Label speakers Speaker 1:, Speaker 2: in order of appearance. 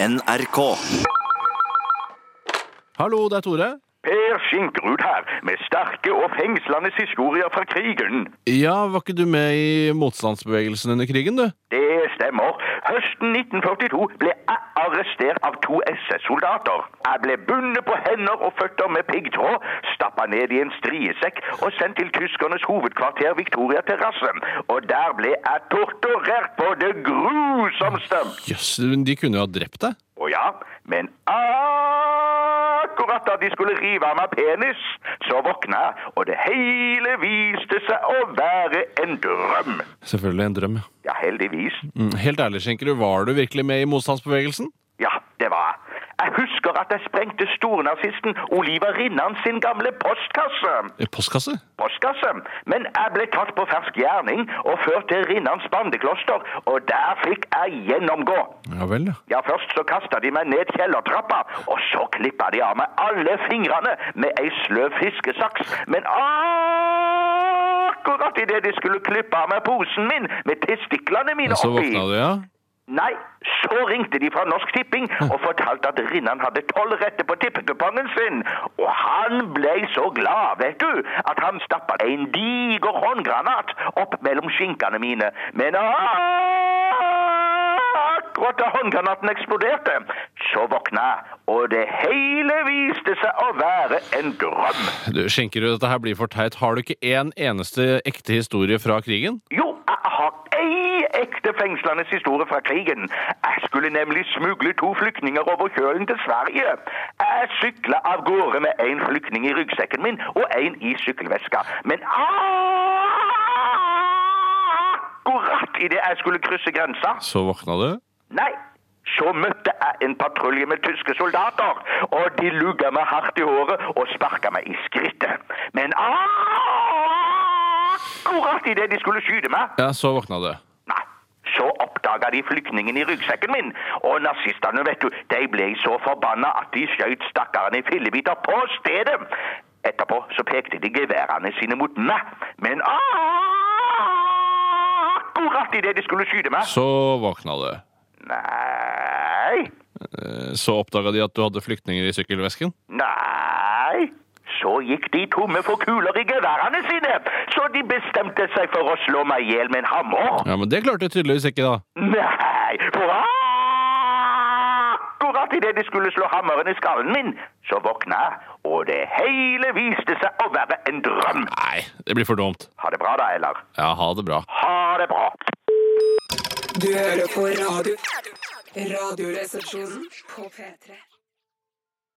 Speaker 1: NRK.
Speaker 2: Hallo, det er Tore.
Speaker 3: Per Skinkerud her, med sterke og fengslende historier fra krigen.
Speaker 2: Ja, var ikke du med i motstandsbevegelsen under krigen, du?
Speaker 3: Det stemmer. Høsten 1942 ble jeg arrestert av to SS-soldater. Jeg ble bundet på hender og føtter med piggtråd, stappa ned i en striesekk og sendt til tyskernes hovedkvarter Victoria Terrassen. Og der ble jeg torturert på det grusomste.
Speaker 2: Jøss, de kunne jo ha drept deg.
Speaker 3: Og ja, men akkurat da de skulle rive av meg penis, så våkna jeg, og det hele viste seg å være en drøm.
Speaker 2: Selvfølgelig en drøm, ja.
Speaker 3: Ja, heldigvis.
Speaker 2: Mm, Helt ærlig, Skjenkerud, var du virkelig med i motstandsbevegelsen?
Speaker 3: Ja, det var jeg. Jeg husker at jeg sprengte stornazisten Oliver Rinnan sin gamle postkasse.
Speaker 2: I postkasse?
Speaker 3: Postkasse? Men jeg ble tatt på fersk gjerning og ført til Rinnans bandekloster, og der fikk jeg gjennomgå.
Speaker 2: Ja vel, ja.
Speaker 3: Ja, først så kasta de meg ned kjellertrappa, og så klippa de av meg alle fingrene med ei sløv fiskesaks. Men akkurat idet de skulle klippe av meg posen min med testiklene mine
Speaker 2: Men så
Speaker 3: oppi
Speaker 2: våkna du, ja?
Speaker 3: Nei, så ringte de fra Norsk Tipping og fortalte at Rinnan hadde tolv retter på tippekupongen sin. Og han ble så glad, vet du, at han stappa en diger håndgranat opp mellom skinkene mine. Men akkurat da håndgranaten eksploderte, så våkna jeg. Og det hele viste seg å være en drøm.
Speaker 2: Du, Skjenkerud, dette her blir for teit. Har du ikke en eneste ekte historie fra krigen?
Speaker 3: Jo, jeg har ei ekte fengslenes historie fra krigen. Jeg skulle nemlig smugle to flyktninger over kjølen til Sverige. Jeg sykla av gårde med én flyktning i ryggsekken min og én i sykkelveska. Men akkurat idet jeg skulle krysse grensa
Speaker 2: Så våkna du?
Speaker 3: Nei. Så møtte jeg en patrulje med tyske soldater, og de lugga meg hardt i håret og sparka meg i skrittet. Men akkurat idet de skulle skyte meg,
Speaker 2: Ja, så våkna du.
Speaker 3: Nei, så oppdaga de flyktningen i ryggsekken min. Og nazistene, vet du, de ble så forbanna at de skjøt stakkaren i fillebiter på stedet. Etterpå så pekte de geværene sine mot meg. Men akkurat idet de skulle skyte meg
Speaker 2: Så våkna du.
Speaker 3: Nei,
Speaker 2: Eh, Så oppdaga de at du hadde flyktninger i sykkelvesken?
Speaker 3: nei. Så gikk de tomme for kuler i geværene sine, så de bestemte seg for å slå meg i hjel med en hammer.
Speaker 2: Ja, men det klarte du tydeligvis ikke, da.
Speaker 3: Nei, for akkurat idet de skulle slå hammeren i skallen min, så våkna jeg, og det hele viste seg å være en drøm.
Speaker 2: Nei, det blir for dumt.
Speaker 3: Ha det bra da, Eilar.
Speaker 2: Ja, ha det bra.
Speaker 3: Ha det bra.
Speaker 4: Du hører på radio. Radioresepsjonen på P3.